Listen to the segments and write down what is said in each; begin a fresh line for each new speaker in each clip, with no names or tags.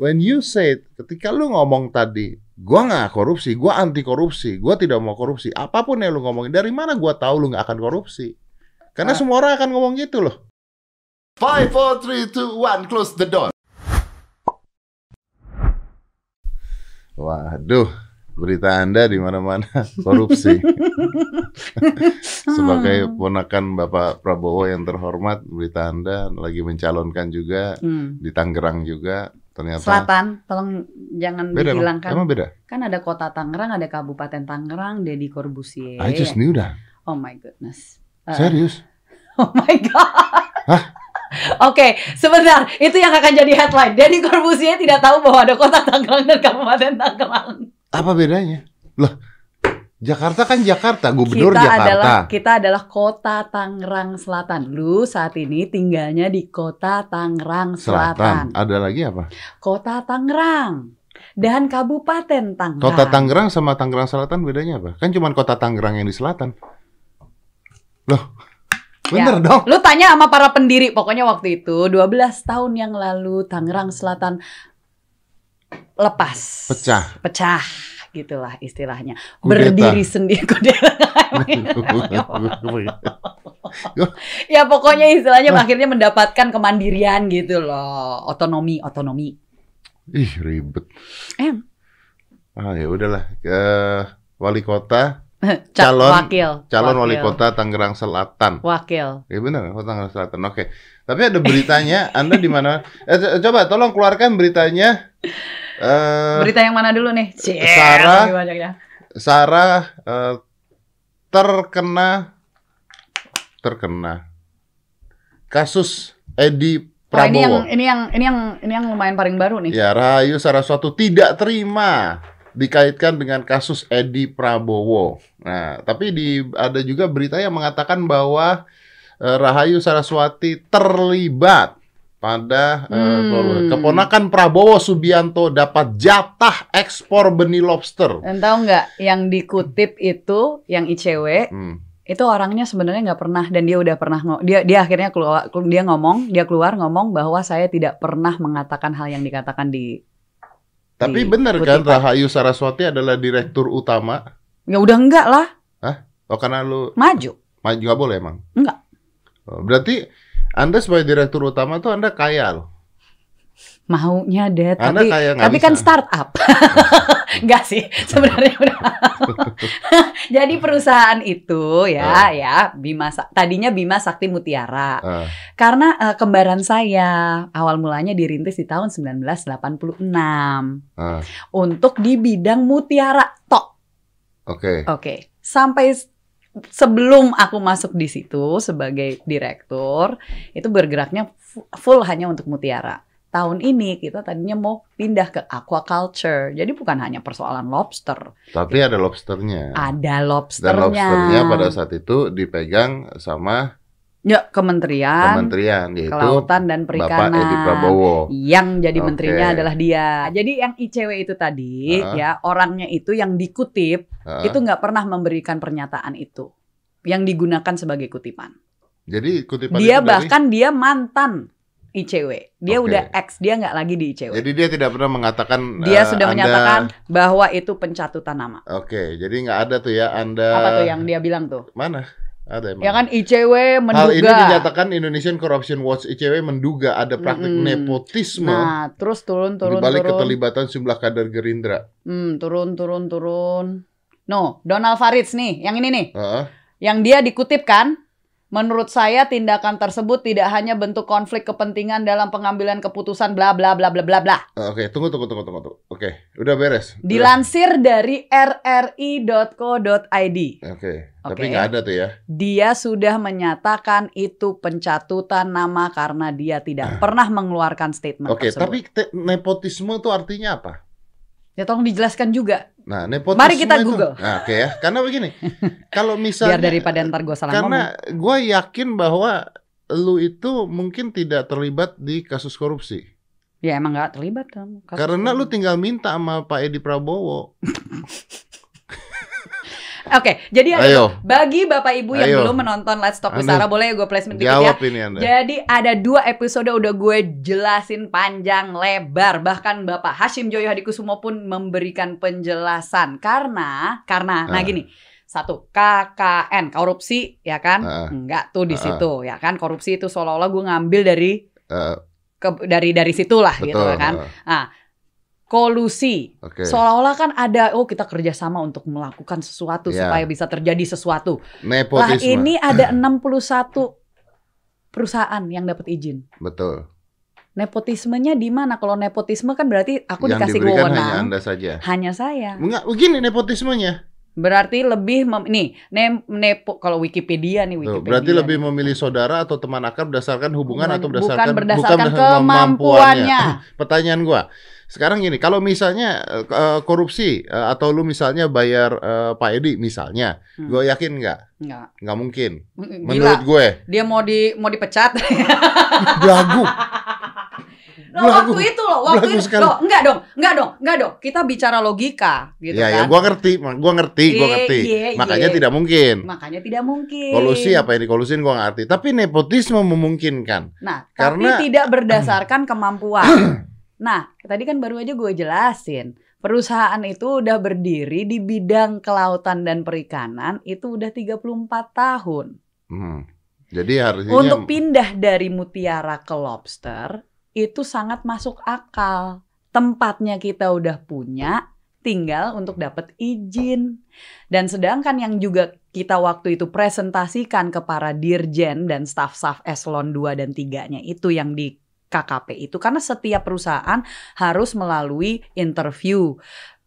when you say ketika lu ngomong tadi gua nggak korupsi gua anti korupsi gua tidak mau korupsi apapun yang lu ngomongin dari mana gua tahu lu nggak akan korupsi karena
Ah.
semua orang akan ngomong gitu loh five four three two one close the door waduh berita anda di mana-mana korupsi
Ah.
sebagai ponakan Bapak Prabowo yang terhormat berita anda lagi mencalonkan juga
Hmm.
di Tangerang juga ternyata
Selatan, tolong jangan
beda emang?
dihilangkan.
emang beda
Kan ada kota Tangerang, ada Kabupaten Tangerang, Deddy Corbusier.
I just knew that
Oh my goodness. Eh,
serius
Oh my god. Oke, sebentar. Itu yang akan jadi headline. Deddy Corbusier tidak tahu bahwa ada kota Tangerang dan Kabupaten Tangerang.
apa bedanya loh Jakarta kan Jakarta gubernur
kita
Jakarta
adalah kita adalah kota Tangerang Selatan. Lu saat ini tinggalnya di kota Tangerang
Selatan
Selatan.
ada lagi apa
Kota Tangerang dan Kabupaten Tangerang.
kota Tangerang sama Tangerang Selatan bedanya apa kan cuma kota Tangerang yang di selatan loh
Ya.
bener dong
Lu tanya sama para pendiri pokoknya waktu itu 12 tahun yang lalu Tangerang Selatan lepas.
Pecah.
Pecah gitulah istilahnya.
Kudeta.
Berdiri sendiri kudeta. ya pokoknya istilahnya
Lah.
akhirnya mendapatkan kemandirian gitu loh, otonomi, otonomi.
ih ribet
Em.
ah ya udahlah Eh, wali kota
Ca-
Calon-
wakil,
calon
wakil,
wali kota Tangerang Selatan
Wakil.
Ya benar, Kota Tangerang Selatan. Oke. Tapi ada beritanya, Anda di mana? Eh, co- coba tolong keluarkan beritanya. Eh,
Berita yang mana dulu nih? Cie,
Sarah.
lebih banyak ya.
Sarah eh, terkena terkena kasus Edi
Wah, Oh, ini yang
Prabowo.
ini yang ini yang ini yang lumayan paling baru nih.
Ya, Rahayu Saraswati tidak terima dikaitkan dengan kasus Edi Prabowo. Nah, tapi di ada juga berita yang mengatakan bahwa eh, Rahayu Saraswati terlibat pada eh,
Hmm.
Prabowo. keponakan Prabowo Subianto dapat jatah ekspor benih lobster.
Dan tahu nggak yang dikutip itu yang ICW
Hmm.
itu orangnya sebenarnya nggak pernah dan dia udah pernah ngo- dia dia akhirnya keluar kelu- dia ngomong dia keluar ngomong bahwa saya tidak pernah mengatakan hal yang dikatakan di
Tapi
Di
benar kan
kutipan.
Rahayu Saraswati adalah direktur utama?
ya udah enggak lah
Oh karena lu
maju
Ma- nggak boleh emang?
Nggak.
Oh, Berarti Anda sebagai direktur utama tuh Anda kaya loh.
maunya deh
Anda
tapi
kaya nggak
tapi kan
bisa.
startup enggak sih sebenarnya udah jadi perusahaan itu
Oh.
ya ya Bima Sa- tadinya Bima Sakti Mutiara
Ah,
Karena eh, kembaran saya awal mulanya dirintis di tahun 1986
ah,
untuk di bidang mutiara tok.
Oke.
Oke, sampai s- sebelum aku masuk di situ sebagai direktur itu bergeraknya fu- full hanya untuk mutiara. Tahun ini kita tadinya mau pindah ke aquaculture. Jadi bukan hanya persoalan lobster,
Tapi ada lobsternya.
ada
Dan
lobsternya.
lobsternya pada saat itu dipegang sama
ya, kementerian,
kementerian yaitu
kelautan dan
Bapak
perikanan.
Edi Prabowo.
yang jadi
Oke.
menterinya adalah dia. Jadi yang ICW itu tadi
Ah.
ya orangnya itu yang dikutip
Ah,
itu nggak pernah memberikan pernyataan itu yang digunakan sebagai kutipan.
Jadi kutipan itu dari-
dia bahkan dia mantan ICW. Dia
Oke.
udah ex, dia nggak lagi di ICW.
jadi dia tidak pernah mengatakan
dia
eh,
sudah
Anda-
menyatakan bahwa itu pencatutan nama.
Oke, jadi nggak ada tuh ya Anda
Apa tuh yang dia bilang tuh?
mana? Ada emang.
Ya kan ICW menduga.
Hal ini dinyatakan Indonesian Corruption Watch ICW menduga ada praktik
Mm-mm.
nepotisme
Nah, terus turun turun
dibalik
turun.
keterlibatan sejumlah kader Gerindra.
Hmm, turun turun turun. No, Donald Farids nih, yang ini nih.
Heeh.
yang dia dikutip kan? Menurut saya tindakan tersebut tidak hanya bentuk konflik kepentingan dalam pengambilan keputusan bla bla bla bla bla bla.
Oke, tunggu tunggu tunggu tunggu tunggu. Oke, udah beres. Udah.
Dilansir dari rri.co.id,
Oke,
Oke.
tapi nggak ada tuh ya.
dia sudah menyatakan itu pencatutan nama karena dia tidak pernah mengeluarkan statement
Ah. Oke,
Nah, tersebut.
tapi te- nepotisme itu artinya apa?
Ya tolong dijelaskan juga
Nah, nepotisme
Mari kita
itu-
Google.
Nah, oke ya. Karena begini, kalau misalnya
biar daripada ntar gue salah ngomong.
karena gue yakin bahwa lu itu mungkin tidak terlibat di kasus korupsi.
Ya emang nggak terlibat kamu. Kasus
Karena
kamu.
lu tinggal minta sama Pak Edi Prabowo.
Oke, jadi ada-
Ayo,
bagi Bapak Ibu yang
Ayo.
belum menonton Let's Talk
Anda-
Wisara boleh ya gue placement dikit ya.
jawab ini Anda.
Jadi ada dua episode udah gue jelasin panjang lebar bahkan Bapak Hashim Joyo Hadikusumo pun memberikan penjelasan karena karena nah
Ah.
gini satu KKN korupsi ya kan
Ah.
enggak tuh di
Ah.
situ ya kan korupsi itu seolah-olah gue ngambil dari
Eh,
ke- dari dari situlah
betul.
gitu kan
eh,
kolusi
Oke.
seolah-olah kan ada oh kita kerjasama untuk melakukan sesuatu
Iya.
supaya bisa terjadi sesuatu lah
Nepotisme.
ini ada 61 perusahaan yang dapat izin
Betul.
Nepotismenya di mana? Kalau nepotisme kan berarti aku
Yang
dikasih
diberikan
wewenang.
hanya
Hanya,
Anda saja.
saya.
Enggak, begini nepotismenya.
Berarti lebih mem- nih nem- nepo kalau Wikipedia nih
Tuh,
Wikipedia.
berarti
nih.
lebih memilih saudara atau teman akrab berdasarkan hubungan atau
bukan
berdasarkan
berdasarkan
berdasarkan
kemampuannya.
Pertanyaan gua. Sekarang gini, kalau misalnya eh, k- eh, korupsi eh, atau lu misalnya bayar eh, Pak Edi misalnya,
Hmm.
gue yakin nggak?
Enggak.
Nggak mungkin.
Gila,
Menurut gue,
dia mau di mau dipecat.
Belagu
Loh,
Belagu.
waktu itu loh, waktu
Belagu
itu.
sekali.
Loh, enggak dong, enggak dong, enggak dong. Kita bicara logika gitu
ya, ya
kan.
gue ngerti, gue ngerti, gue
Iya,
ngerti.
iya,
Makanya
iya.
tidak mungkin.
Makanya tidak mungkin.
Kolusi apa yang dikolusin gue nggak ngerti. Tapi nepotisme memungkinkan.
Nah,
Karena-
tapi tidak berdasarkan kemampuan. Nah, tadi kan baru aja gue jelasin. Perusahaan itu udah berdiri di bidang kelautan dan perikanan itu udah 34 tahun.
Hmm. Jadi harusnya
Untuk pindah dari mutiara ke lobster itu sangat masuk akal. Tempatnya kita udah punya, tinggal untuk dapat izin. Dan sedangkan yang juga kita waktu itu presentasikan ke para dirjen dan staf-staf eselon 2 dan 3-nya itu yang di KKP itu karena setiap perusahaan harus melalui interview.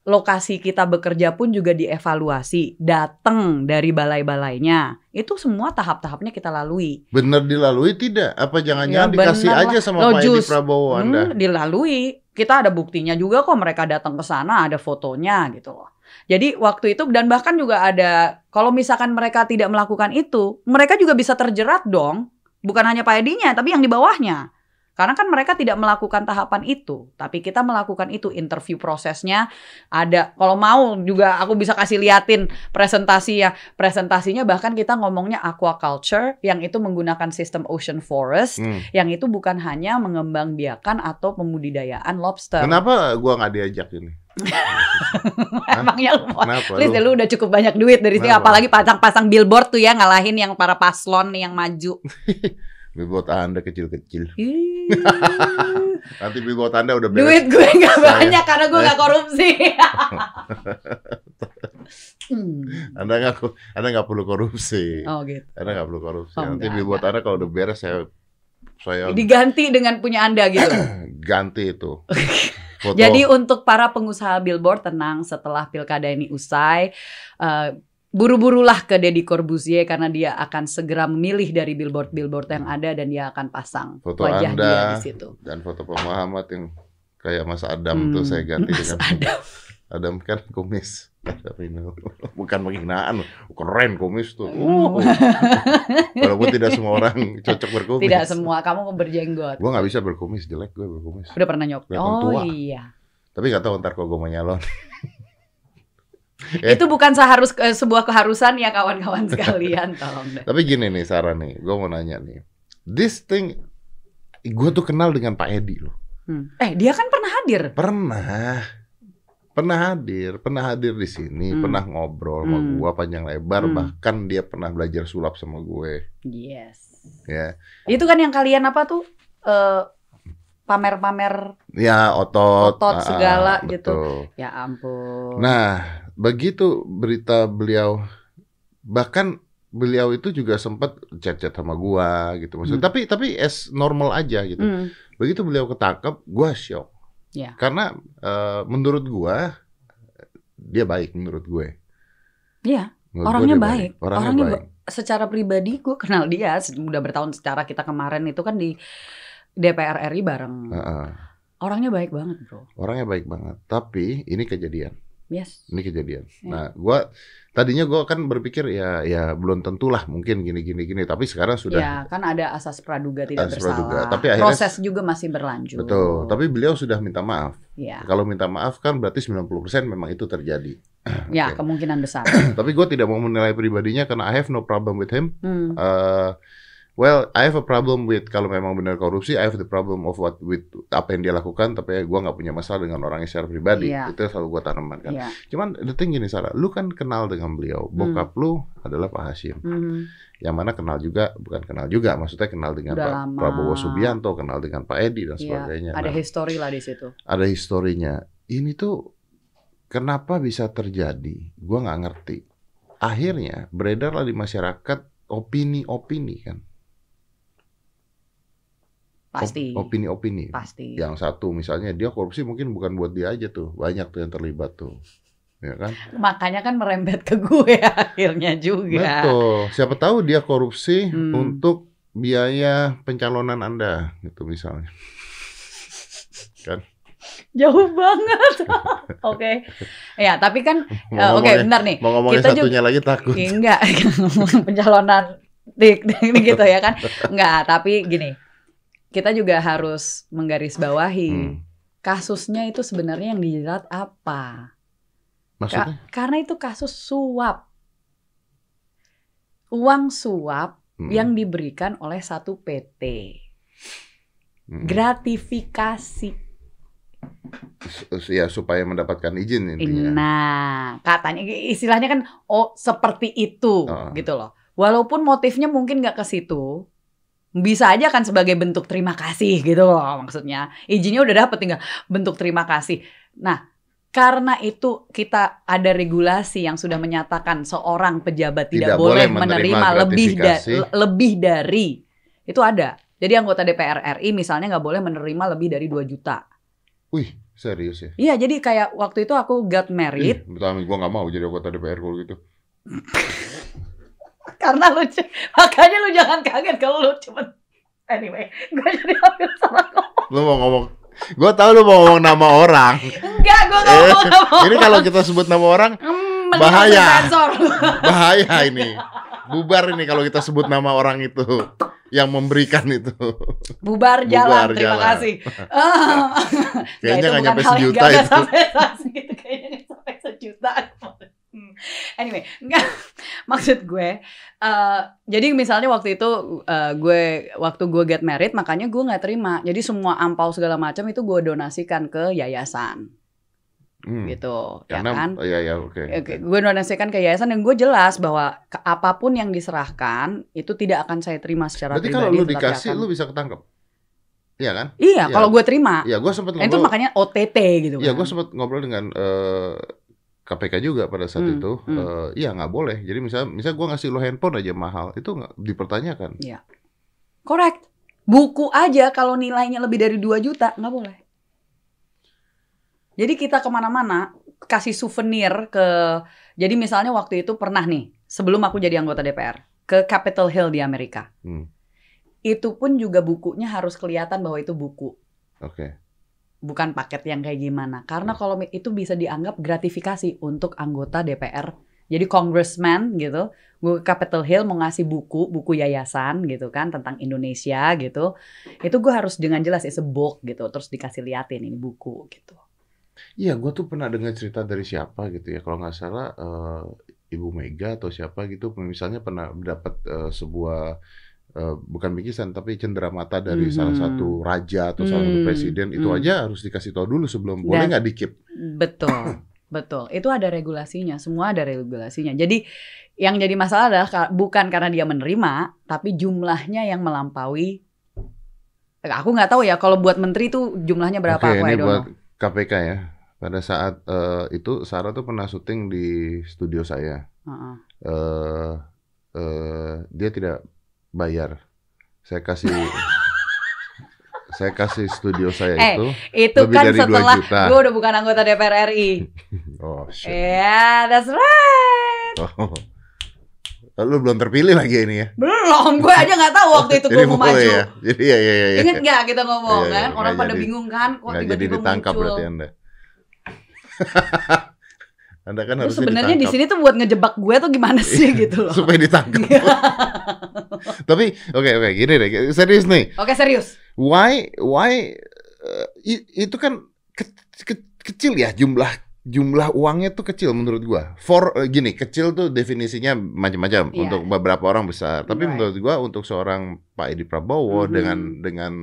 Lokasi kita bekerja pun juga dievaluasi, datang dari balai-balainya. Itu semua tahap-tahapnya kita lalui.
bener dilalui tidak? Apa jangan-jangan
Ya,
dikasih
benar
aja sama
Loh,
Pak Edi
jus-
Prabowo Anda?
Hmm, dilalui. Kita ada buktinya juga kok mereka datang ke sana ada fotonya gitu loh. Jadi waktu itu dan bahkan juga ada kalau misalkan mereka tidak melakukan itu, mereka juga bisa terjerat dong. Bukan hanya Pak Edinya tapi yang di bawahnya. Karena kan mereka tidak melakukan tahapan itu, tapi kita melakukan itu interview prosesnya ada. Kalau mau juga aku bisa kasih liatin presentasi ya. Presentasinya bahkan kita ngomongnya aquaculture yang itu menggunakan sistem ocean forest
Hmm.
yang itu bukan hanya mengembang biakan atau pembudidayaan lobster.
Kenapa gua nggak diajak ini? kan?
Emangnya lu mau?
Kenapa? lu?
Please deh, lu udah cukup banyak duit dari sini
Kenapa?
apalagi pasang-pasang billboard tuh ya ngalahin yang para paslon nih yang maju.
Billboard Anda kecil-kecil.
Ih,
Nanti billboard Anda udah beres.
duit gue nggak
Saya-
banyak karena gue nggak korupsi. Hmm.
Anda nggak Anda nggak perlu korupsi.
Oh gitu.
Anda nggak perlu korupsi.
Oh,
Nanti
enggak,
billboard Anda kalau udah beres saya saya
Diganti dengan punya Anda gitu.
ganti itu. Foto.
Jadi untuk para pengusaha billboard tenang setelah pilkada ini usai eh, buru-burulah ke Deddy Corbuzier karena dia akan segera memilih dari billboard-billboard yang ada dan dia akan pasang
Foto
wajah
Anda.
dia di situ.
dan foto Pak Muhammad yang kayak Mas Adam tuh Ya,
Hmm,
saya ganti
Mas
dengan
Adam.
Adam kan kumis. Adam ini. Bukan penghinaan, keren kumis tuh.
Oh.
Uh. Walaupun tidak semua orang cocok berkumis.
Tidak semua kamu berjenggot.
Gue nggak bisa berkumis, jelek gue berkumis.
Udah pernah nyok?
Kelihatan tua.
Oh iya.
Tapi nggak tahu ntar kalau gue mau nyalon. Eh.
Itu bukan seharus eh, sebuah keharusan ya kawan-kawan sekalian tolong deh.
Tapi gini nih Sarah nih, gue mau nanya nih. This thing, gue tuh kenal dengan Pak Edi loh.
Hmm. Eh dia kan pernah hadir.
Pernah, pernah hadir, pernah hadir di sini,
Hmm.
pernah ngobrol sama
Hmm.
gue panjang lebar.
Hmm.
Bahkan dia pernah belajar sulap sama gue,
Yes.
ya.
Itu kan yang kalian apa tuh eh, pamer-pamer
Ya otot,
Otot
ah,
segala gitu.
betul.
Ya ampun.
Nah, begitu berita beliau bahkan beliau itu juga sempat chat-chat sama gua gitu maksudnya.
Hmm.
Tapi tapi as normal aja gitu.
Hmm.
Begitu beliau ketangkep, gua shock.
Ya.
Karena eh, menurut gua dia baik menurut gue.
Iya,
Menurut
orangnya
dia
baik.
Orangnya,
Orangnya
baik.
Secara pribadi gue kenal dia se- udah bertahun secara kita kemarin itu kan di DPR RI bareng.
Heeh.
Orangnya baik banget, Bro.
Orangnya baik banget. Tapi ini kejadian.
Yes.
Ini kejadian.
Ya.
Nah, gua tadinya gua kan berpikir ya ya belum tentulah mungkin gini gini gini, tapi sekarang sudah
Ya, kan ada asas praduga tidak
Asas
bersalah.
praduga. Tapi akhirnya-
proses juga masih berlanjut.
betul. Tapi beliau sudah minta maaf.
ya,
Kalau minta maaf kan berarti 90% memang itu terjadi.
ya
Ah, Oke.
kemungkinan besar.
tapi gua tidak mau menilai pribadinya karena I have no problem with him.
Hmm.
Eh, well, I have a problem with kalau memang benar korupsi, I have the problem of what with apa yang dia lakukan, tapi gua nggak punya masalah dengan orangnya secara pribadi.
Iya.
Itu yang selalu gua tanaman kan.
Ya.
Cuman the thing gini Sarah, lu kan kenal dengan beliau.
Hmm.
Bokap lu adalah Pak Hashim.
Mhm.
Yang mana kenal juga, bukan kenal juga, maksudnya kenal dengan
Udah
Pak
lama.
Prabowo Subianto, kenal dengan Pak Edi dan
Iya,
sebagainya.
Ada
Nah,
history lah di situ.
ada historinya. Ini tuh kenapa bisa terjadi? Gua nggak ngerti. Akhirnya beredarlah di masyarakat opini-opini kan. Op- Ya.
Pasti.
Opini-opini.
Pasti.
Yang satu misalnya dia korupsi mungkin bukan buat dia aja tuh, banyak tuh yang terlibat tuh. Ya kan?
Makanya kan merembet ke gue akhirnya juga.
Betul. Siapa tahu dia korupsi
Iya. Hmm.
untuk biaya pencalonan Anda gitu misalnya.
Jauh banget. Oke. Ya, tapi kan eh,
Mau
oke,
ngomongnya-
bentar nih.
mau ngomongin
kita juga-
satunya lagi takut.
Ya, enggak pencalonan dik ini gitu ya kan enggak tapi gini kita juga harus menggarisbawahi
Hmm.
kasusnya itu sebenarnya yang dijerat apa Ka-
Maksudnya?
karena itu kasus suap uang suap
Hmm.
yang diberikan oleh satu PT
Hmm.
gratifikasi
Su- ya supaya mendapatkan izin intinya.
Nah, katanya istilahnya kan oh seperti itu
Oh.
gitu loh. Walaupun motifnya mungkin nggak ke situ, bisa aja kan sebagai bentuk terima kasih gitu loh maksudnya. Izinnya udah dapet tinggal bentuk terima kasih. Nah, karena itu kita ada regulasi yang sudah menyatakan seorang pejabat
Tidak
tidak, boleh
boleh
menerima,
menerima
lebih da-
gratifikasi.
le- lebih dari itu ada. Jadi anggota DPR RI misalnya nggak boleh menerima lebih dari 2 juta.
Wih, serius ya?
Iya, jadi kayak waktu itu aku got
Ih,
married
Betul, amin. gua nggak mau jadi anggota DPR kalau gitu.
karena lu c- makanya lu jangan kaget kalau lu cuman anyway gue jadi ambil sama kau
Lu mau ngomong, gua tahu lu mau ngomong nama orang.
enggak gue nggak
Eh,
mau nggak mau
Ini kalau kita sebut nama orang
Hmm, mending
bahaya.
langsung sensor.
bahaya ini, bubar ini kalau kita sebut nama orang itu yang memberikan itu.
bubar
Bubar
jalan terima
jalan. Ya,
kasih Ah. Nggak, itu
Kayaknya nggak
bukan
nyampe
hal yang-
sejuta
nggak- nggak
itu.
sampai segitu kayaknya nggak sampai sejuta Hmm. anyway nggak maksud gue eh, jadi misalnya waktu itu eh, gue waktu gue get married makanya gue nggak terima jadi semua ampau segala macam itu gue donasikan ke yayasan
Hmm,
gitu
Karena,
ya kan
oh, iya, iya, oke.
Oke, gue donasikan ke yayasan dan gue jelas bahwa ke- apapun yang diserahkan itu tidak akan saya terima secara
Berarti
pribadi.
kalau lu
tetapi
dikasih,
akan-
lu bisa ketangkep. Iya kan? Iya.
iya, kalau gue terima,
Iya, gua sempat
itu
ngobrol.
makanya OTT gitu.
Iya,
kan.
gua sempat ngobrol dengan eh, KPK juga pada saat
Hmm,
itu.
hmm.
Eh, iya, nggak boleh. Jadi misalnya, misalnya gua ngasih lu handphone aja mahal, itu nggak dipertanyakan.
Correct. Buku aja kalau nilainya lebih dari 2 juta nggak boleh. Jadi kita kemana-mana kasih souvenir ke. Jadi misalnya waktu itu pernah nih sebelum aku jadi anggota DPR ke Capitol Hill di Amerika.
Hmm.
Itu pun juga bukunya harus kelihatan bahwa itu buku.
Oke.
bukan paket yang kayak gimana
Hmm.
karena kalau mi- itu bisa dianggap gratifikasi untuk anggota DPR jadi congressman gitu gue ke Capitol Hill mau ngasih buku buku yayasan gitu kan tentang Indonesia gitu itu gue harus dengan jelas it's a book gitu terus dikasih liatin ini buku gitu
Iya, gua tuh pernah dengar cerita dari siapa gitu ya. Kalau nggak salah eh, Ibu Mega atau siapa gitu, misalnya pernah mendapat eh, sebuah eh, bukan bikisan tapi cendera mata dari
Mhm.
salah satu raja atau salah satu
Hmm,
presiden itu
hmm.
aja harus dikasih tahu dulu sebelum boleh
Dan-
nggak dikip.
betul betul itu ada regulasinya semua ada regulasinya jadi yang jadi masalah adalah ka- bukan karena dia menerima tapi jumlahnya yang melampaui aku nggak tahu ya kalau buat menteri tuh jumlahnya berapa
Oke,
aku I
ini
don't know.
buat KPK ya. Pada saat eh, itu Sarah tuh pernah syuting di studio saya.
Heeh.
eh eh, dia tidak bayar. Saya kasih saya kasih studio saya
Eh,
itu
Itu
lebih
kan
dari 2
setelah
juta.
gue udah bukan anggota DPR RI. Eh.
Oh shit.
Ya, that's right.
Oh. Lu belum terpilih lagi ini ya.
Belum, gue aja nggak tahu waktu itu gue
Jadi
mau
boleh
maju.
ya. Jadi ya ya ya. ya.
Ingat nggak kita ngomong
Iya,
kan?
iya,
Orang
nggak
pada
jadi- ya.
bingung kan, kok
Nggak jadi
tiba-tiba
ditangkap
muncul.
berarti Anda. Anda kan
Lu
harus
sebenarnya di sini tuh buat ngejebak gue tuh gimana
Iya.
sih gitu loh.
supaya ditangkap. Tapi oke oke gini deh, serius nih.
Oke serius.
Why why eh, i- itu kan ke- ke- kecil ya jumlah jumlah uangnya tuh kecil menurut gua. For eh, gini, kecil tuh definisinya macam-macam.
Iya.
Untuk beberapa orang besar, tapi
Right.
menurut gua untuk seorang Pak Edi Prabowo
Mhm.
dengan dengan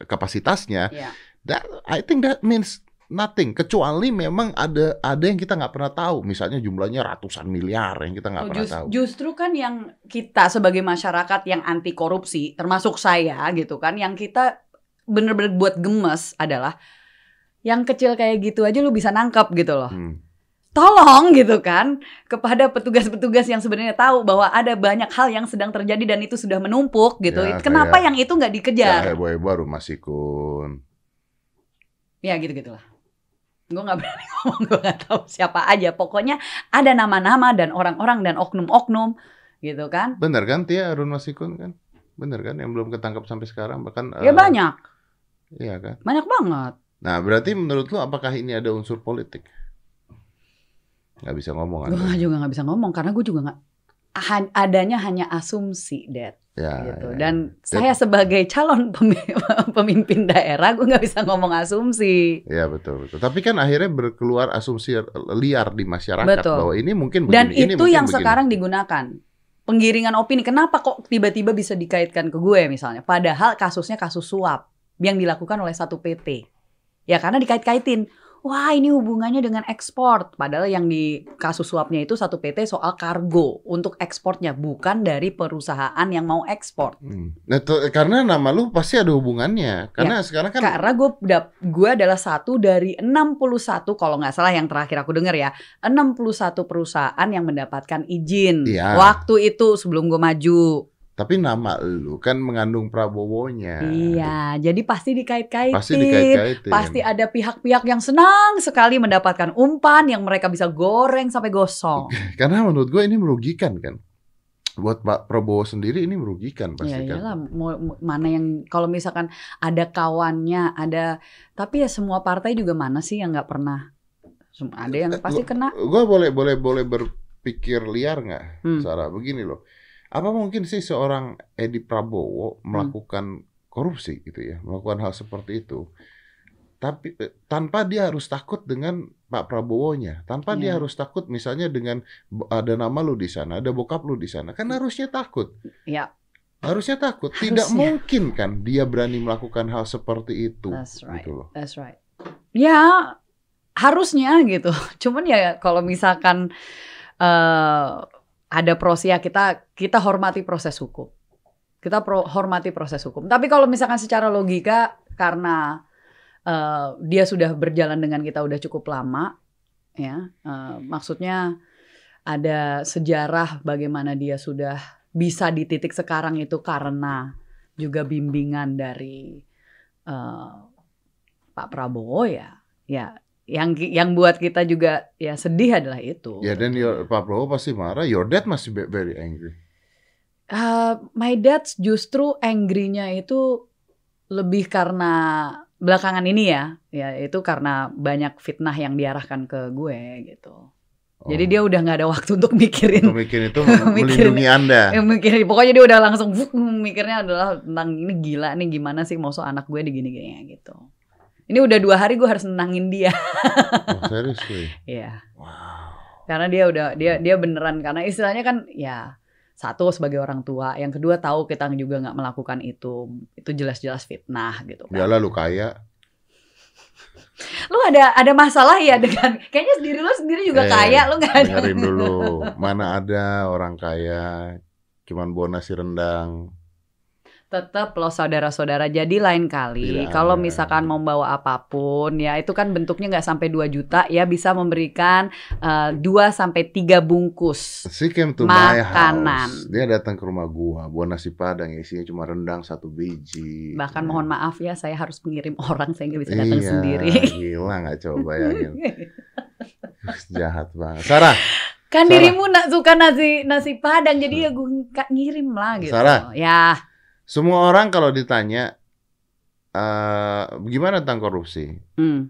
kapasitasnya,
Iya.
that I think that means nothing kecuali memang ada ada yang kita nggak pernah tahu. Misalnya jumlahnya ratusan miliar yang kita nggak pernah
Jus-
tahu.
Justru kan yang kita sebagai masyarakat yang anti korupsi, termasuk saya gitu kan, yang kita bener-bener buat gemes adalah yang kecil kayak gitu aja lu bisa nangkep gitu loh.
Hmm.
Tolong gitu kan kepada petugas-petugas yang sebenarnya tahu bahwa ada banyak hal yang sedang terjadi dan itu sudah menumpuk gitu.
Ya,
Kenapa
kayak-
yang itu nggak dikejar?
Ya, heboh baru masih kun.
Ya gitu gitulah. Gue nggak berani ngomong, gue nggak tahu siapa aja. Pokoknya ada nama-nama dan orang-orang dan oknum-oknum gitu kan.
Bener kan Tia Arun Masikun kan? Bener kan yang belum ketangkap sampai sekarang bahkan
Ya
eh,
banyak,
Iya kan?
banyak banget.
Nah, berarti menurut lu apakah ini ada unsur politik? Gak bisa ngomong kan?
Gue juga nggak bisa ngomong karena gue juga nggak han- adanya hanya asumsi, Dad.
Ya,
gitu.
ya.
Dan saya sebagai calon pemi- pemimpin daerah, gue nggak bisa ngomong asumsi.
Ya, betul betul. Tapi kan akhirnya berkeluar asumsi liar di masyarakat
Betul.
bahwa ini mungkin begini,
Dan
ini
itu
mungkin
yang
begini.
sekarang digunakan. Penggiringan opini. Kenapa kok tiba-tiba bisa dikaitkan ke gue misalnya? Padahal kasusnya kasus suap yang dilakukan oleh satu PT. Ya karena dikait-kaitin. Wah ini hubungannya dengan ekspor. Padahal yang di kasus suapnya itu satu PT soal kargo untuk ekspornya. Bukan dari perusahaan yang mau ekspor.
Hmm. Nah, tuh, karena nama lu pasti ada hubungannya.
Ya,
Karena sekarang kan
Karena gue dap- gue adalah satu dari 61 kalau nggak salah yang terakhir aku dengar ya 61 perusahaan yang mendapatkan izin
Iya.
waktu itu sebelum gue maju.
tapi nama lu kan mengandung Prabowo-nya.
Iya, jadi pasti
Ya,
dikait-kaitin.
Pasti dikait-kaitin.
Pasti ada pihak-pihak yang senang sekali mendapatkan umpan yang mereka bisa goreng sampai gosong.
Karena menurut gue ini merugikan kan. Buat Pak Prabowo sendiri ini merugikan pasti
Ya
kan.
iyalah, mau- mau- mana yang kalau misalkan ada kawannya, ada tapi ya semua partai juga mana sih yang nggak pernah Sem- ada yang pasti kena.
Gue boleh boleh boleh berpikir liar nggak,
Hmm.
Sarah? Begini loh. Apa mungkin sih seorang Edi
Hmm.
Prabowo melakukan korupsi gitu ya, melakukan hal seperti itu? Tapi eh, tanpa dia harus takut dengan Pak Prabowo-nya, tanpa dia
Iya.
harus takut misalnya dengan bo- ada nama lu di sana, ada bokap lu di sana, kan
Hmm.
harusnya takut.
Iya.
Harusnya takut. Tidak
Harusnya.
mungkin kan dia berani melakukan hal seperti itu.
That's right.
Gitu loh.
That's right. Ya harusnya gitu. Cuman ya kalau misalkan eh ada prosia kita kita hormati proses hukum. Kita pro- hormati proses hukum. Tapi kalau misalkan secara logika karena eh, dia sudah berjalan dengan kita udah cukup lama, ya eh, maksudnya ada sejarah bagaimana dia sudah bisa di titik sekarang itu karena juga bimbingan dari eh, Pak Prabowo ya, ya yang yang buat kita juga ya sedih adalah itu.
Ya dan your-
Iya.
Pak Prabowo pasti marah. Your dad masih be- very angry.
Eh, my dad justru angry-nya itu lebih karena belakangan ini ya, ya itu karena banyak fitnah yang diarahkan ke gue gitu.
Oh.
Jadi dia udah nggak ada waktu untuk mikirin,
pemikiran itu
Mikirin-
melindungi Anda.
eh, mikirin. Pokoknya dia udah langsung vuk, mikirnya adalah tentang ini gila nih gimana sih mau anak gue digini-gini gitu. Ini udah dua hari gue harus nenangin dia.
Oh, seriously.
Iya.
Wow.
karena dia udah dia
Hmm.
dia beneran karena istilahnya kan ya satu sebagai orang tua yang kedua tahu kita juga nggak melakukan itu itu jelas-jelas fitnah gitu kan.
Udahlah lu kaya.
lu ada ada masalah ya dengan kayaknya sendiri lu sendiri juga
Eh,
kaya lu nggak ada
Dengerin dulu. Mana ada orang kaya cuman bawa nasi rendang.
tetap lo saudara-saudara jadi lain kali
Tidak
kalau
ada.
misalkan mau bawa apapun ya itu kan bentuknya nggak sampai 2 juta ya bisa memberikan 2 sampai 3 bungkus
She came to my
Makanan.
house. Dia datang ke rumah gua, bawa nasi padang isinya cuma rendang satu biji.
bahkan mohon maaf ya saya harus mengirim orang saya nggak bisa
Iya,
datang sendiri
Gila nggak coba bayangin. Jahat banget. Sarah,
Kan
Sarah.
dirimu nak suka nasi nasi padang jadi ya gue nggak ngirim lah gitu.
Sarah.
Ya
semua orang kalau ditanya eh gimana tentang korupsi,
hmm,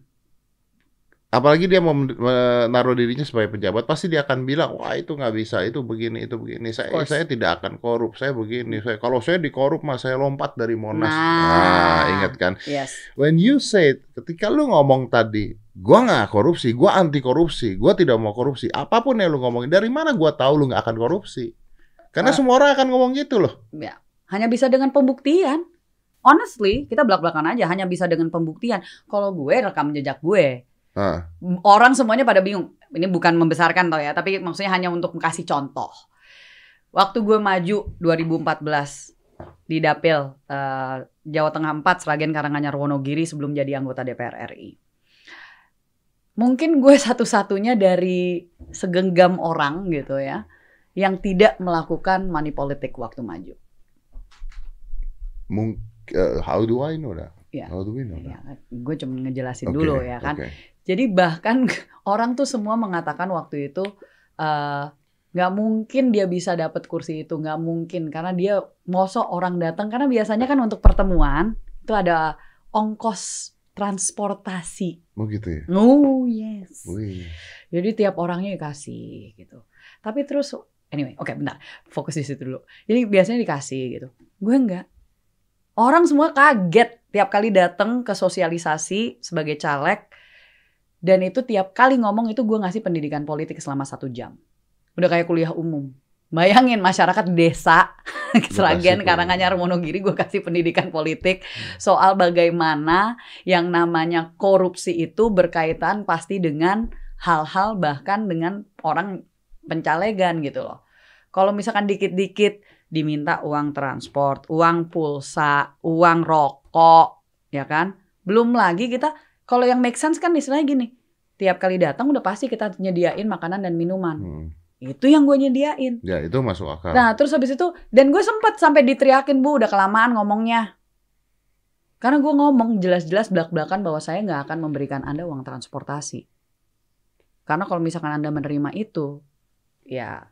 apalagi dia mau men- menaruh dirinya sebagai pejabat pasti dia akan bilang wah itu nggak bisa itu begini itu begini saya
Of course.
saya tidak akan korup saya begini saya kalau saya dikorup mas saya lompat dari monas
Nah.
nah ingat kan
Yes.
when you said ketika lu ngomong tadi gua nggak korupsi gua anti korupsi gua tidak mau korupsi apapun yang lu ngomongin dari mana gua tahu lu nggak akan korupsi karena
Ah.
semua orang akan ngomong gitu loh
Hanya bisa dengan pembuktian. Honestly, kita belak-belakan aja hanya bisa dengan pembuktian. Kalau gue rekam jejak gue,
Ah.
orang semuanya pada bingung. Ini bukan membesarkan tau ya, tapi maksudnya hanya untuk kasih contoh. Waktu gue maju 2014 di Dapil eh, Jawa Tengah 4 Seragen Karanganyar Wonogiri sebelum jadi anggota DPR RI. Mungkin gue satu-satunya dari segenggam orang gitu ya yang tidak melakukan money politik waktu maju.
Mung- eh, how do I know that
Ya.
how do we know that
Ya, gue cuma ngejelasin
Oke,
dulu ya kan.
oke.
Jadi bahkan orang tuh semua mengatakan waktu itu eh, nggak mungkin dia bisa dapat kursi itu, nggak mungkin karena dia mosok orang datang karena biasanya kan untuk pertemuan itu ada ongkos transportasi.
Oh gitu ya.
Oh yes.
Wih.
Jadi tiap orangnya dikasih gitu. Tapi terus anyway, oke bentar. Fokus di situ dulu. Jadi biasanya dikasih gitu. Gue enggak. Orang semua kaget tiap kali datang ke sosialisasi sebagai caleg dan itu tiap kali ngomong itu gue ngasih pendidikan politik selama satu jam. Udah kayak kuliah umum. Bayangin masyarakat desa Seragen,
kuliah.
Karanganyar, Monogiri gue kasih pendidikan politik soal bagaimana yang namanya korupsi itu berkaitan pasti dengan hal-hal bahkan dengan orang pencalegan gitu loh. Kalau misalkan dikit-dikit diminta uang transport, uang pulsa, uang rokok, ya kan? Belum lagi kita kalau yang make sense kan istilahnya gini. Tiap kali datang udah pasti kita nyediain makanan dan minuman.
Hmm.
Itu yang gue nyediain.
Ya itu masuk akal.
Nah, terus habis itu dan gue sempat sampai diteriakin, Bu, udah kelamaan ngomongnya. Karena gue ngomong jelas-jelas belak-belakan bahwa saya nggak akan memberikan Anda uang transportasi. Karena kalau misalkan Anda menerima itu, ya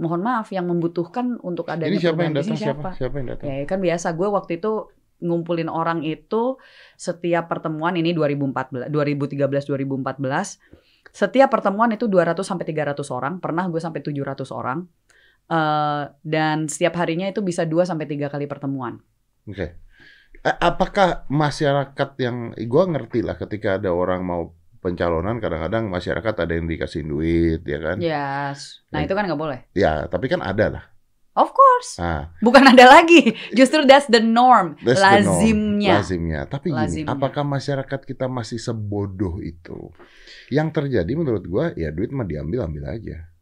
mohon maaf yang membutuhkan untuk adanya
Ini siapa yang
perubahan di
datang?
sini
Siapa? Siapa yang datang?
Ya kan biasa gue waktu itu ngumpulin orang itu setiap pertemuan ini 2014 2013 2014 setiap pertemuan itu 200 sampai 300 orang, pernah gue sampai 700 orang. Eh, dan setiap harinya itu bisa 2 sampai 3 kali pertemuan.
Oke. A- Apakah masyarakat yang gua ngerti lah ketika ada orang mau pencalonan kadang-kadang masyarakat ada yang dikasih duit ya kan?
Yes.
Ya.
Nah, itu kan nggak boleh.
Ya, tapi kan ada lah.
Of course.
Ah,
Bukan ada lagi. Justru that's the norm.
that's the norm.
Lazimnya.
Lazimnya. Tapi gini,
Lazimnya.
apakah masyarakat kita masih sebodoh itu? Yang terjadi menurut gua ya duit mah diambil ambil aja.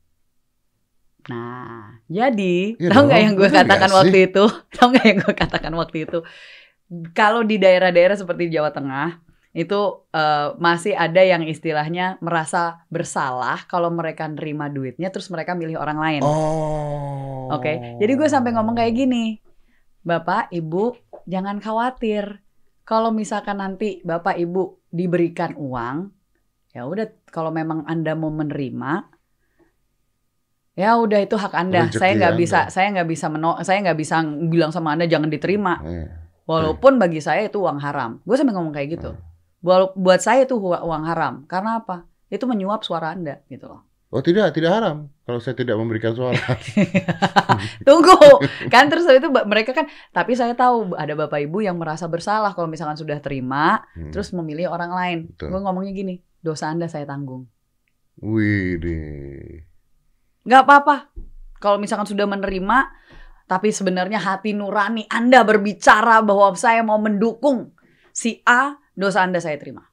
Nah, jadi
Iya dong,
tau nggak yang gue
bener nggak
katakan
sih?
waktu itu? Tau nggak yang gue katakan waktu itu? Kalau di daerah-daerah seperti Jawa Tengah itu eh, masih ada yang istilahnya merasa bersalah kalau mereka nerima duitnya terus mereka milih orang lain.
Oh.
Oke, jadi gue sampai ngomong kayak gini, Bapak, Ibu, jangan khawatir. Kalau misalkan nanti Bapak, Ibu diberikan uang, ya udah. Kalau memang Anda mau menerima, ya udah itu hak Anda.
Rezeki
saya nggak
Anda.
bisa, saya nggak bisa menolak, saya nggak bisa bilang sama Anda jangan diterima.
Eh,
Walaupun bagi saya itu uang haram. Gue sampai ngomong kayak
Hmm.
gitu. Walau- Buat saya itu hu- uang haram. Karena apa? Itu menyuap suara Anda gitu loh.
Oh tidak, tidak haram. Kalau saya tidak memberikan suara.
Tunggu, kan terus habis itu ba- mereka kan, tapi saya tahu ada bapak ibu yang merasa bersalah kalau misalkan sudah terima,
Hmm.
terus memilih orang lain.
Betul.
Gue ngomongnya gini, dosa anda saya tanggung.
Wih deh.
Gak apa-apa, kalau misalkan sudah menerima, tapi sebenarnya hati nurani anda berbicara bahwa saya mau mendukung si A, dosa anda saya terima.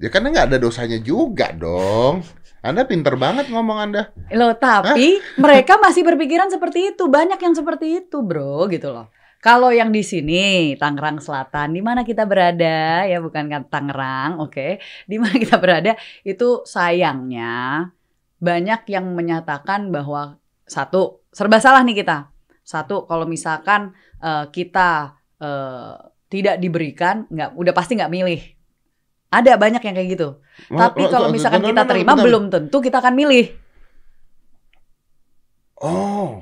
Ya karena nggak ada dosanya juga dong. Anda pinter banget ngomong Anda.
Loh, tapi mereka masih berpikiran seperti itu, banyak yang seperti itu, bro, gitu loh. Kalau yang di sini Tangerang Selatan, di mana kita berada ya bukan kan Tangerang, oke? Di mana kita berada itu sayangnya banyak yang menyatakan bahwa satu serba salah nih kita. Satu kalau misalkan eh, kita eh, tidak diberikan, nggak udah pasti nggak milih. Ada banyak yang kayak gitu. Tapi kalau misalkan kita terima belum tentu kita akan milih
Oh.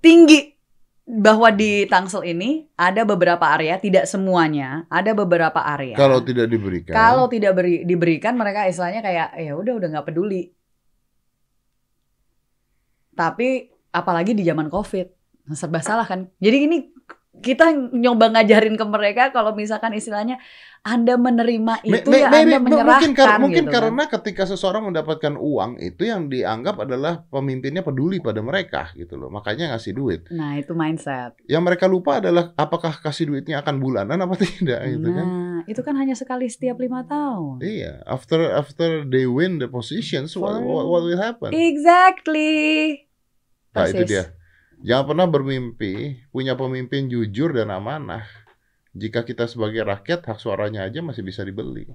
tinggi bahwa di Tangsel ini ada beberapa area, tidak semuanya, ada beberapa area.
Kalau tidak diberikan.
Ya. Kalau tidak beri- diberikan mereka istilahnya kayak ya udah udah nggak peduli. Tapi apalagi di zaman Covid, serba salah kan. Jadi ini kita nyoba ngajarin ke mereka kalau misalkan istilahnya Anda
Me-
menerima itu
me-
ya
maybe-
Anda menyerahkan
mungkin kar- mungkin
gitu kan.
karena ketika seseorang mendapatkan uang itu yang dianggap adalah pemimpinnya peduli pada mereka gitu loh makanya ngasih duit
Nah, itu mindset.
yang mereka lupa adalah apakah kasih duitnya akan bulanan apa tidak gitu kan
Nah, itu kan hanya sekali setiap lima tahun.
Iya, after after they win the positions, what,
Fine.
what, what will happen?
Exactly.
Nah, itu
Iya, Persis.
dia. Jangan pernah bermimpi punya pemimpin jujur dan amanah. Jika kita sebagai rakyat hak suaranya aja masih bisa dibeli.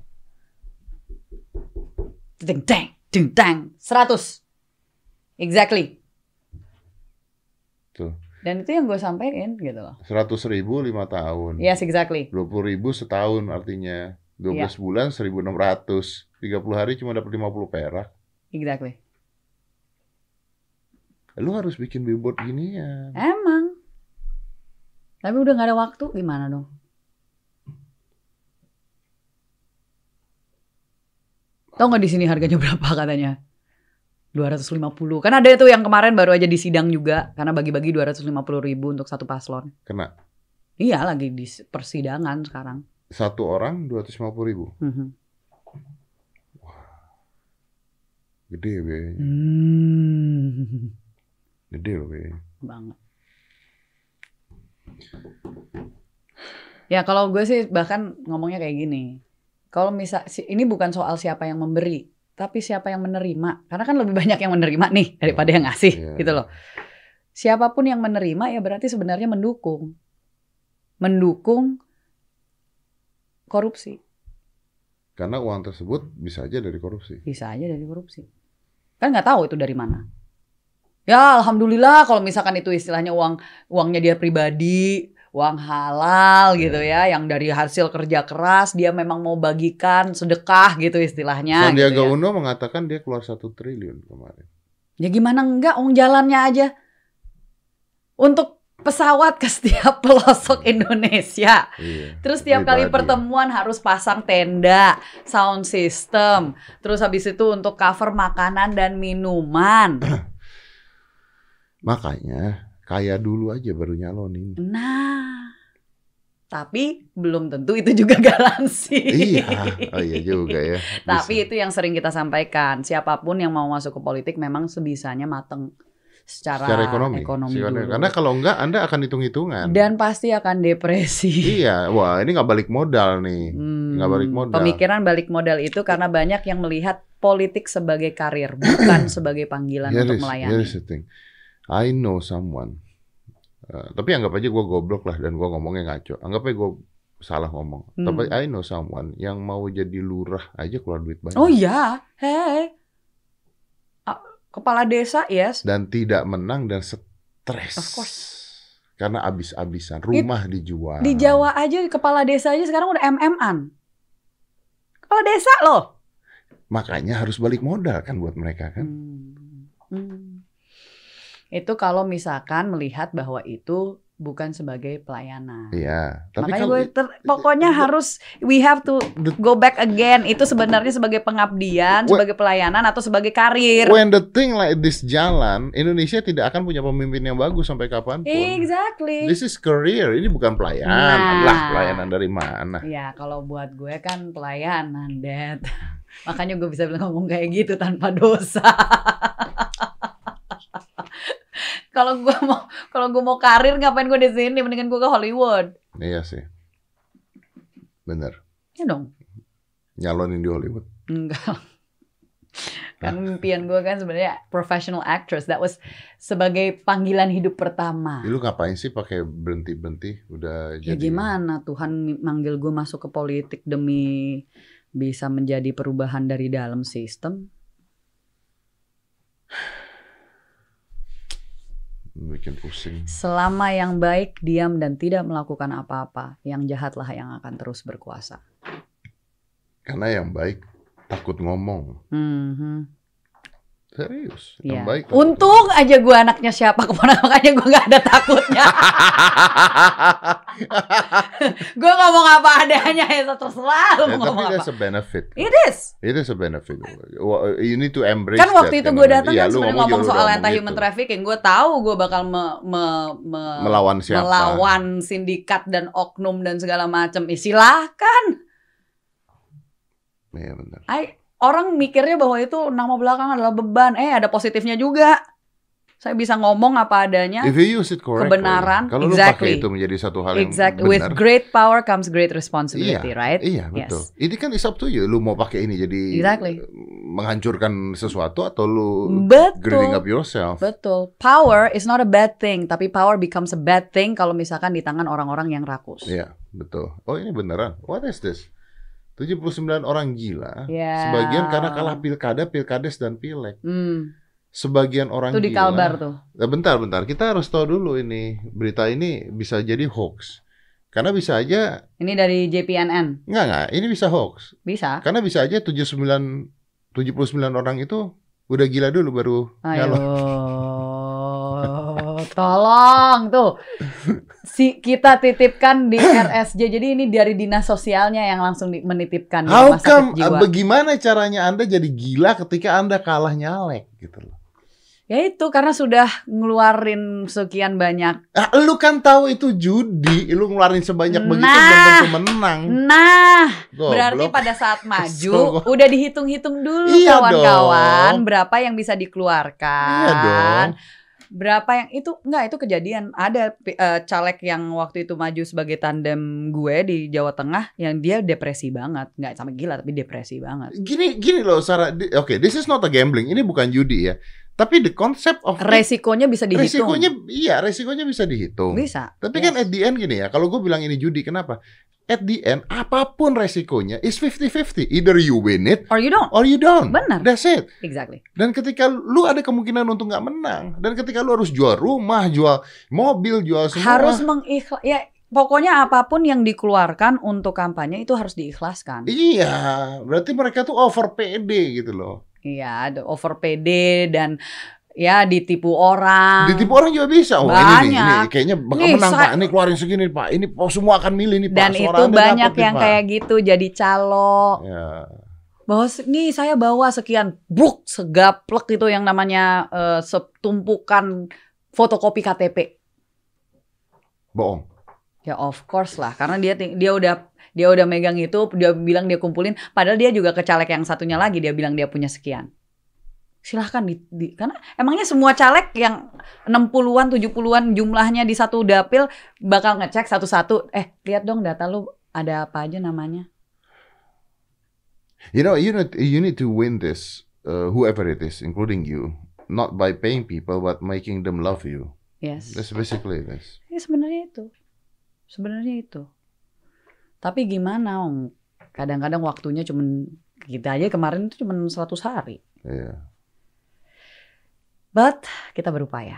Deng deng deng deng 100. Exactly.
Tuh.
Dan itu yang gue sampein gitu loh.
Seratus ribu lima tahun,
Yes, exactly.
dua puluh ribu setahun artinya dua belas bulan seribu enam ratus, tiga puluh hari cuma dapat lima puluh perak.
Exactly.
Lu harus bikin billboard gini ya.
Emang. Tapi udah gak ada waktu gimana dong? Tahu nggak di sini harganya berapa katanya? 250. Kan ada itu yang kemarin baru aja disidang juga karena bagi-bagi 250 ribu untuk satu paslon.
Kena
Iya lagi di persidangan sekarang.
satu orang dua ratus lima puluh ribu,
Mhm.
gede biayanya,
Hmm.
gede loh biayanya.
banget. Ya kalau gue sih bahkan ngomongnya kayak gini. Kalau misal si- ini bukan soal siapa yang memberi, tapi siapa yang menerima. Karena kan lebih banyak yang menerima nih daripada yang ngasih
Iya.
gitu loh. Siapapun yang menerima ya berarti sebenarnya mendukung. Mendukung korupsi.
Karena uang tersebut bisa aja dari korupsi.
Bisa aja dari korupsi. Kan nggak tahu itu dari mana. Ya alhamdulillah kalau misalkan itu istilahnya uang uangnya dia pribadi, uang halal gitu ya, yang dari hasil kerja keras dia memang mau bagikan sedekah gitu istilahnya.
Sandiaga
gitu ya.
Uno mengatakan dia keluar satu triliun kemarin.
ya gimana enggak uang jalannya aja untuk pesawat ke setiap pelosok Indonesia.
Iya.
Terus tiap kali pertemuan harus pasang tenda, sound system, terus habis itu untuk cover makanan dan minuman.
Makanya kaya dulu aja baru nyalonin.
Nah, tapi belum tentu itu juga garansi.
iya, oh iya juga ya. Bisa.
Tapi itu yang sering kita sampaikan. Siapapun yang mau masuk ke politik memang sebisanya mateng secara,
secara ekonomi, secara-
dulu.
karena kalau enggak Anda akan hitung-hitungan.
Dan pasti akan depresi.
iya, wah ini nggak balik modal nih.
Hmm,
Nggak balik modal.
Pemikiran balik modal itu karena banyak yang melihat politik sebagai karir, bukan sebagai panggilan
Here
untuk
is-
melayani.
here is the thing. I know someone. Eh, tapi anggap aja gue goblok lah dan gue ngomongnya ngaco. Anggap aja gue salah ngomong.
Hmm.
Tapi I know someone yang mau jadi lurah aja keluar duit banyak.
Oh iya, hei. Ah, Kepala desa, yes.
dan tidak menang dan stres.
Of course.
Karena abis-abisan rumah dijual.
Di Jawa aja kepala desa aja sekarang udah MM-an. Kepala desa loh.
Makanya harus balik modal kan buat mereka kan.
Hmm. Hmm. Itu kalau misalkan melihat bahwa itu bukan sebagai pelayanan.
Iya, tapi
Makanya
kalau
gue ter- pokoknya
The-
harus we have to
The-
go back again. Itu sebenarnya sebagai pengabdian,
Wh-
sebagai pelayanan atau sebagai karir.
when the thing like this jalan, Indonesia tidak akan punya pemimpin yang bagus sampai kapanpun.
Exactly.
This is career, ini bukan pelayanan.
Nah.
Lah, pelayanan dari mana?
Ya kalau buat gue kan pelayanan, Dad. Makanya gue bisa bilang ngomong kayak gitu tanpa dosa. kalau gue mau kalau gue mau karir ngapain gue di sini? Mendingan gue ke Hollywood.
Iya sih. Bener,
Ya dong.
nyalonin di Hollywood.
Enggak. Kan impian gue kan sebenarnya professional actress. That was sebagai panggilan hidup pertama.
Ih, Lu ngapain sih pakai berhenti-berhenti udah
Ya
jadi
gimana Tuhan manggil gue masuk ke politik demi bisa menjadi perubahan dari dalam sistem.
bikin pusing.
Selama yang baik diam dan tidak melakukan apa-apa, yang jahatlah yang akan terus berkuasa.
Karena yang baik takut ngomong.
Mhm.
Serius. Yang
Iya.
baik.
Untung aja gue anaknya siapa keponakannya gue nggak ada takutnya. gue ngomong apa adanya ya terserah lu
Ya, tapi
mau ngomong
that's
apa.
a
Iya.
benefit.
It is.
It is a benefit. Wa- You need to embrace
Kan
that,
waktu
you
itu gue
know.
datang
Iya,
kan
lu
sebenarnya
juga
ngomong
udah
soal anti
ngomong gitu.
human
itu.
trafficking. Gue tahu gue bakal me- me- me-
Melawan siapa?
melawan sindikat dan oknum dan segala macam. Eh, silahkan.
Iya, benar.
I- orang mikirnya bahwa itu nama belakang adalah beban. Eh ada positifnya juga. Saya bisa ngomong apa adanya.
If you use it correctly.
Ya. Kebenaran,
Kalau lu
exactly.
pakai itu menjadi satu hal yang
Exactly. With
benar.
great power comes great responsibility, right?
Iya,
Yes.
betul. Ini kan is up to you. Lu mau pakai ini jadi eh,
Exactly.
menghancurkan sesuatu atau lu
Betul.
grading up yourself.
Betul. Power is not a bad thing, tapi power becomes a bad thing kalau misalkan di tangan orang-orang yang rakus.
Iya, betul. Oh, ini beneran. What is this? 79 orang gila.
Ya.
Sebagian karena kalah pilkada, pilkades dan pileg.
Hmm,
Sebagian orang
itu di
gila.
Kalbar tuh.
Nah, bentar, bentar. Kita harus tahu dulu ini berita ini bisa jadi hoax. Karena bisa aja
Ini dari JPNN.
nggak nggak. Ini bisa hoax.
Bisa?
Karena bisa aja 79 79 orang itu udah gila dulu baru
Ayo.
nyalon.
Tolong tuh. Si kita titipkan di RSJ. Jadi ini dari dinas sosialnya yang langsung di- menitipkan di
How
rumah sakit
come eh, ah,
jiwa.
bagaimana caranya Anda jadi gila ketika Anda kalah nyalek gitu loh.
Ya itu karena sudah ngeluarin sekian banyak.
Ah, lu kan tahu itu judi, lu ngeluarin sebanyak begitu
Nah.
belum tentu menang.
Nah,
Goblok.
Berarti pada saat maju
Kesel gua.
udah dihitung-hitung dulu
Iya dong.
kawan-kawan berapa yang bisa dikeluarkan.
Iya dong.
Berapa yang itu enggak itu kejadian ada eh, caleg yang waktu itu maju sebagai tandem gue di Jawa Tengah yang dia depresi banget, nggak sampai gila tapi depresi banget.
Gini gini loh Sarah. Di- Oke, this is not a gambling. Ini bukan judi ya. Tapi the concept of it-
Resikonya bisa dihitung.
Resikonya iya, resikonya bisa dihitung.
bisa.
Tapi
Yes.
kan at the end gini ya, kalau gue bilang ini judi, kenapa? At the end apapun resikonya is 50-50. Either you win it
Or you don't.
or you don't.
Benar.
That's it.
Exactly.
Dan ketika lu ada kemungkinan untuk nggak menang, dan ketika lu harus jual rumah, jual mobil, jual semua.
Harus mengikhlas ya pokoknya apapun yang dikeluarkan untuk kampanye itu harus diikhlaskan.
Iya, berarti mereka tuh over PD gitu loh.
Iya, ada over PD dan ya ditipu orang.
Ditipu orang juga bisa. Oh, ini nih, ini
Banyak.
kayaknya bakal
Nih,
menang
saya-
Pak. Ini keluarin segini Pak. Ini oh, semua akan milih nih Pak.
Dan
Suara
itu
Anda
banyak
dapet nih,
yang
Pak.
kayak gitu jadi calo.
Ya.
Bahwa se- nih saya bawa sekian buk segaplek itu yang namanya eh, setumpukan fotokopi KTP.
bohong.
Ya of course lah karena dia ting- dia udah dia udah megang itu dia bilang dia kumpulin padahal dia juga ke caleg yang satunya lagi dia bilang dia punya sekian. Silahkan di, di- karena emangnya semua caleg yang 60-an 70-an jumlahnya di satu dapil bakal ngecek satu-satu eh lihat dong data lu ada apa aja namanya.
You know, you need you need to win this, uh, whoever it is, including you, not by paying people, but making them love you.
Yes.
That's basically this.
Ya sebenarnya itu. Sebenarnya itu. Tapi gimana Om? Kadang-kadang waktunya cuman kita aja kemarin itu cuman 100 hari.
Ya,
But kita berupaya.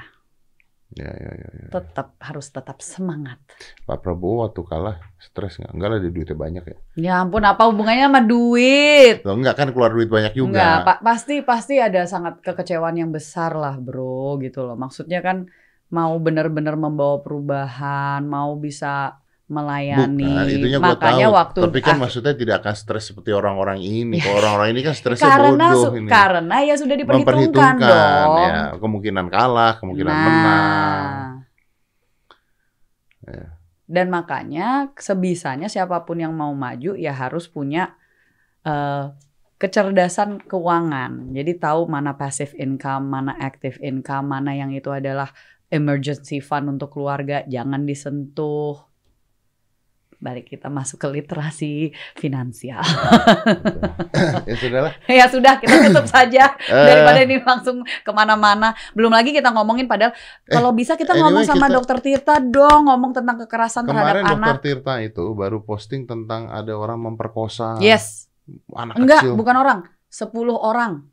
ya, ya, ya. ya.
tetap harus tetap semangat.
Pak Prabowo waktu kalah stres nggak? Enggak lah, dia duitnya banyak ya.
Ya ampun, apa hubungannya sama duit?
Loh, enggak kan keluar duit banyak juga.
Enggak, Pak. Pasti pasti ada sangat kekecewaan yang besar lah, Bro, gitu loh. Maksudnya kan mau benar-benar membawa perubahan, mau bisa melayani.
Bukan, itunya gua
Makanya
tahu.
waktu
Tapi kan
ah,
maksudnya tidak akan stres seperti orang-orang ini. Kalau orang-orang ini kan stresnya
karena
bodoh
su-
ini.
karena ya sudah diperhitungkan
Memperhitungkan,
dong.
ya, kemungkinan kalah, kemungkinan
Nah.
menang. Ya.
Dan makanya sebisanya siapapun yang mau maju ya harus punya eh, kecerdasan keuangan. Jadi tahu mana passive income, mana active income, mana yang itu adalah emergency fund untuk keluarga, jangan disentuh. Balik kita masuk ke literasi finansial.
ya sudahlah.
ya sudah, kita tutup saja
Eh,
daripada ini langsung kemana-mana. Belum lagi kita ngomongin padahal kalau bisa kita
Eh, anyway,
ngomong sama
kita-
dokter Tirta dong, ngomong tentang kekerasan terhadap
kemarin dokter
anak.
Tirta itu baru posting tentang ada orang memperkosa
Yes,
anak
enggak,
kecil.
bukan orang, 10 orang.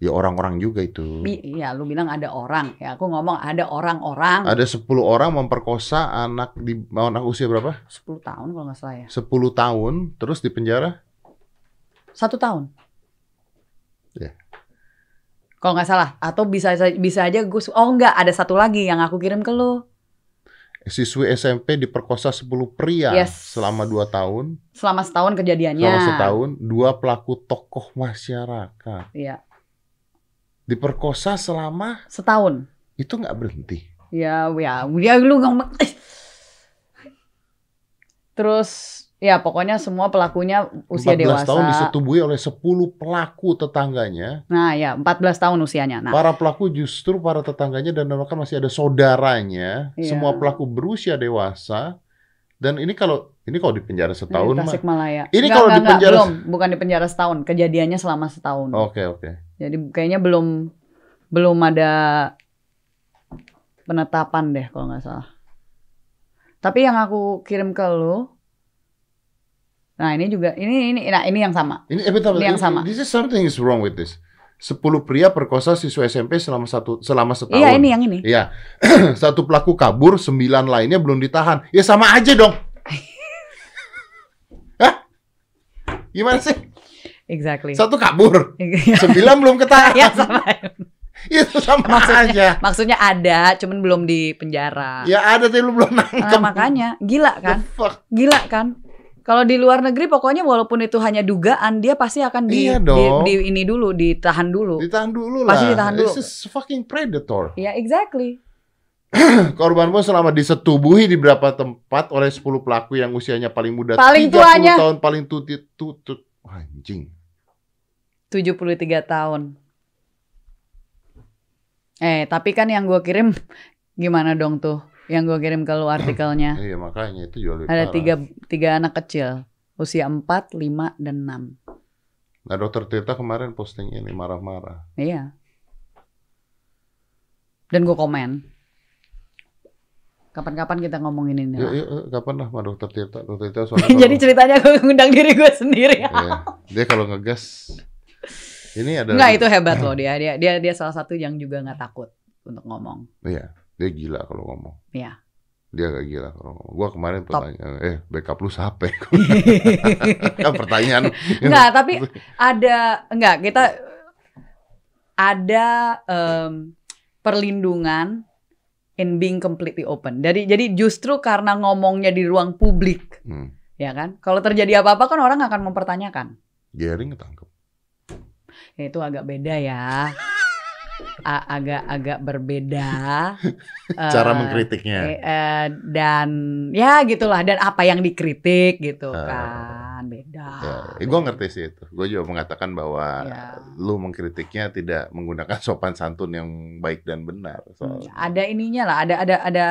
Ya orang-orang juga itu.
Bi- ya lu bilang ada orang, ya aku ngomong ada orang-orang
Ada 10 orang memperkosa anak di anak usia berapa?
10 tahun kalau nggak salah ya.
10 tahun terus di penjara. Ya.
Satu tahun. Kalau nggak salah, atau bisa bisa aja gue su- oh nggak ada satu lagi yang aku kirim ke lu
eh, Siswi SMP diperkosa 10 pria
Yes.
selama 2 tahun.
selama setahun kejadiannya.
Selama setahun, dua pelaku tokoh masyarakat
Iya,
diperkosa selama
setahun.
itu nggak berhenti.
Ya, ya, ya lu ngomong. Terus ya pokoknya semua pelakunya usia
14
dewasa.
tahun disetubuhi oleh 10 pelaku tetangganya.
Nah, ya 14 tahun usianya. Nah,
Para pelaku justru para tetangganya dan bahkan masih ada saudaranya.
Iya.
Semua pelaku berusia dewasa. Dan ini kalau ini kalau di penjara setahun
di
mah.
Tasikmalaya.
Ini
Nggak,
kalau
nggak,
di
nggak,
penjara-
belum, bukan di penjara setahun, kejadiannya selama setahun.
Oke, oke.
Jadi kayaknya belum belum ada penetapan deh kalau nggak salah. Tapi yang aku kirim ke lu Nah, ini juga ini ini nah ini yang sama.
Ini eh, bentar, bentar.
Yang
Ini-
sama.
This is something is wrong with this. 10 pria perkosa siswa SMP selama satu selama setahun.
Iya, ini yang ini.
Iya. Satu pelaku kabur, sembilan lainnya belum ditahan. Ya sama aja dong. Hah? Gimana sih?
Exactly.
Satu kabur,
Iya,
sembilan belum ketahan.
ya, sama.
Itu sama
Maksudnya-
aja.
Maksudnya ada, cuman belum di penjara.
Ya ada tapi lu belum
Nah,
nangkep.
makanya gila
The
kan?
fuck?
Gila kan? Kalau di luar negeri pokoknya walaupun itu hanya dugaan, dia pasti akan di,
Iya
di-
dong.
di- ini dulu, ditahan dulu.
Ditahan dulu lah.
Pasti ditahan dulu.
This is fucking predator.
Ya exactly.
Korban pun selama disetubuhi di beberapa tempat oleh 10 pelaku yang usianya paling muda 30
Paling tuanya.
tahun paling tuti tutut anjing.
73 tahun. Eh, tapi kan yang gua kirim gimana dong tuh? Yang gua kirim ke lu artikelnya.
Iya makanya itu juga lebih
Ya. Ada
parah.
tiga, tiga anak kecil, usia 4, 5, dan 6.
Nah, dokter Tirta kemarin posting ini marah-marah.
Iya. Dan gue komen. Kapan-kapan kita ngomongin ini.
Yuk,
lah.
yuk, yuk, kapan lah sama dokter Tirta? Dokter Tirta soalnya
Ya. Jadi
kalau-
ceritanya gue ngundang diri gue sendiri.
Iya. dia kalau ngegas ini ada
Enggak itu hebat loh dia. Dia dia dia salah satu yang juga nggak takut untuk ngomong.
Iya, dia gila kalau ngomong.
Iya.
Dia gak gila kalau ngomong. Gua kemarin
Top.
pertanyaan, eh backup lu siapa? kan pertanyaan. Iya.
Enggak, tapi ada enggak kita ada em, perlindungan in being completely open. Jadi jadi justru karena ngomongnya di ruang publik,
Hmm,
ya kan? Kalau terjadi apa-apa kan orang akan mempertanyakan.
Gary ketangkep.
Ya, itu agak beda ya. A- agak-agak berbeda Eh,
Cara mengkritiknya.
eh, eh, dan ya gitulah dan apa yang dikritik gitu
Eh.
kan beda Hmm,
Ya, eh, gua ngerti sih itu. Gue juga mengatakan bahwa
Ya.
lu mengkritiknya tidak menggunakan sopan santun yang baik dan benar.
Hmm,
Soal
ada ininya lah ada ada ada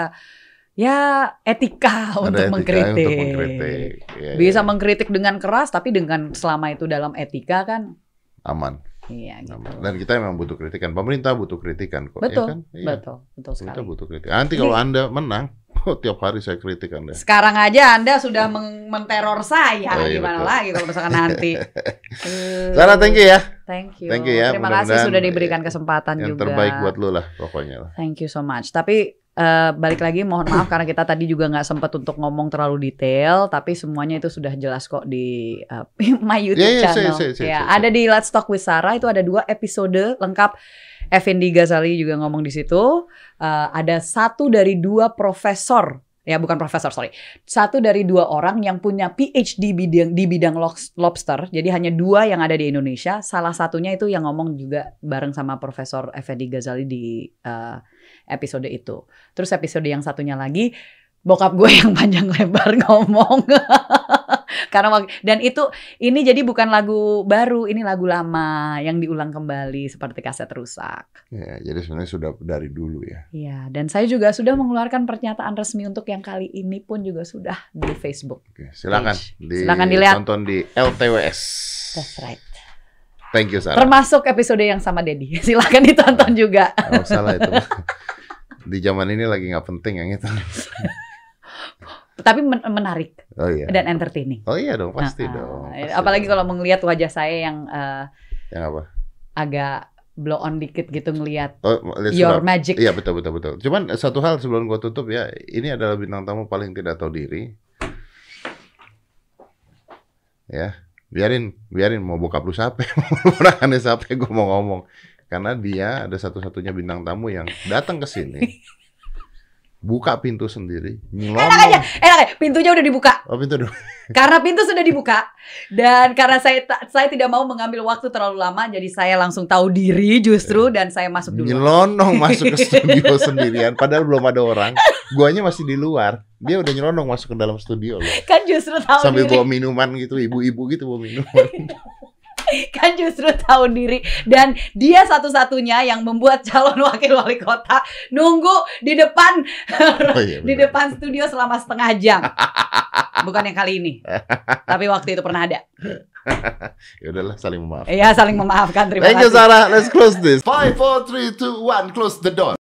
ya etika untuk
ada etika
mengkritik,
Untuk mengkritik. Ya,
bisa
ya.
mengkritik dengan keras tapi dengan selama itu dalam etika kan
aman,
iya gitu
aman. Dan kita memang butuh kritikan. Pemerintah butuh kritikan kok. Ya
Betul,
kan? Nah, Iya.
betul betul
Pemerintah
sekali
butuh kritikan. Nanti kalau anda menang, tiap hari saya kritik anda.
Sekarang aja Anda sudah meng- menteror
Iya.
saya,
Oh, iya,
gimana
betul.
lagi kalau misalkan nanti. Eh,
Sarah, thank you ya.
Thank you.
Thank you ya,
Terima kasih
mudah-mudahan
sudah diberikan kesempatan
Yang
juga.
terbaik buat lu lah pokoknya lah.
Thank you so much. Tapi eh, balik lagi mohon maaf karena kita tadi juga nggak sempat untuk ngomong terlalu detail, tapi semuanya itu sudah jelas kok di eh, my YouTube
Ya, ya, saya-
channel.
saya- saya-
ya,
saya-
ada di Let's Talk with Sarah itu ada dua episode lengkap. Effendi Ghazali juga ngomong di situ. Eh, ada satu dari dua profesor ya bukan profesor sorry satu dari dua orang yang punya PhD bidang di bidang lox- lobster jadi hanya dua yang ada di Indonesia salah satunya itu yang ngomong juga bareng sama Profesor Effendi Ghazali di eh, episode itu terus episode yang satunya lagi bokap gue yang panjang lebar ngomong karena wak- dan itu ini jadi bukan lagu baru ini lagu lama yang diulang kembali seperti kaset rusak
Ya, jadi sebenarnya sudah dari dulu ya.
Iya, dan saya juga sudah mengeluarkan pernyataan resmi untuk yang kali ini pun juga sudah di Facebook.
Oke, silakan.
Page. Silakan dilihat.
Tonton di LTWS.
That's right.
Thank you Sarah.
Termasuk episode yang sama Dedi. Silakan ditonton juga.
Nggak usah lah itu. di zaman ini lagi nggak penting yang itu.
Tapi men- menarik
Oh iya.
dan entertaining.
Oh iya dong, pasti
Nah,
dong.
eh,
pasti
Apalagi
dong.
kalau melihat wajah saya yang eh,
yang apa?
agak blow on dikit gitu ngelihat
Oh, lihat
your
surat.
magic.
Iya betul betul betul. Cuman eh, satu hal sebelum gua tutup ya, ini adalah bintang tamu paling tidak tahu diri. Ya, biarin biarin mau buka lu siapa, mau lu perangannya siapa, gua mau ngomong. Karena dia ada satu-satunya bintang tamu yang datang ke sini. Buka pintu sendiri, ngomong.
Enak ya, pintunya udah dibuka.
Oh, pintu dulu.
Karena pintu sudah dibuka dan karena saya ta- saya tidak mau mengambil waktu terlalu lama, jadi saya langsung tahu diri
Iya.
justru dan saya masuk dulu.
Nyelonong masuk ke studio sendirian padahal belum ada orang. Guanya masih di luar. Dia udah nyelonong masuk ke dalam studio loh.
Kan justru tahu
Sambil
diri.
bawa minuman gitu, ibu-ibu gitu bawa minuman.
Kan justru tahu diri dan dia satu-satunya yang membuat calon wakil wali kota nunggu di depan
Oh iya.
di
benar.
depan studio selama setengah jam. Bukan yang kali ini. Tapi waktu itu pernah ada.
Ya udahlah saling memaafkan.
Ya saling memaafkan terima
Thank you
kasih.
Sarah, let's close this. 5 4 3 2 1 close the door.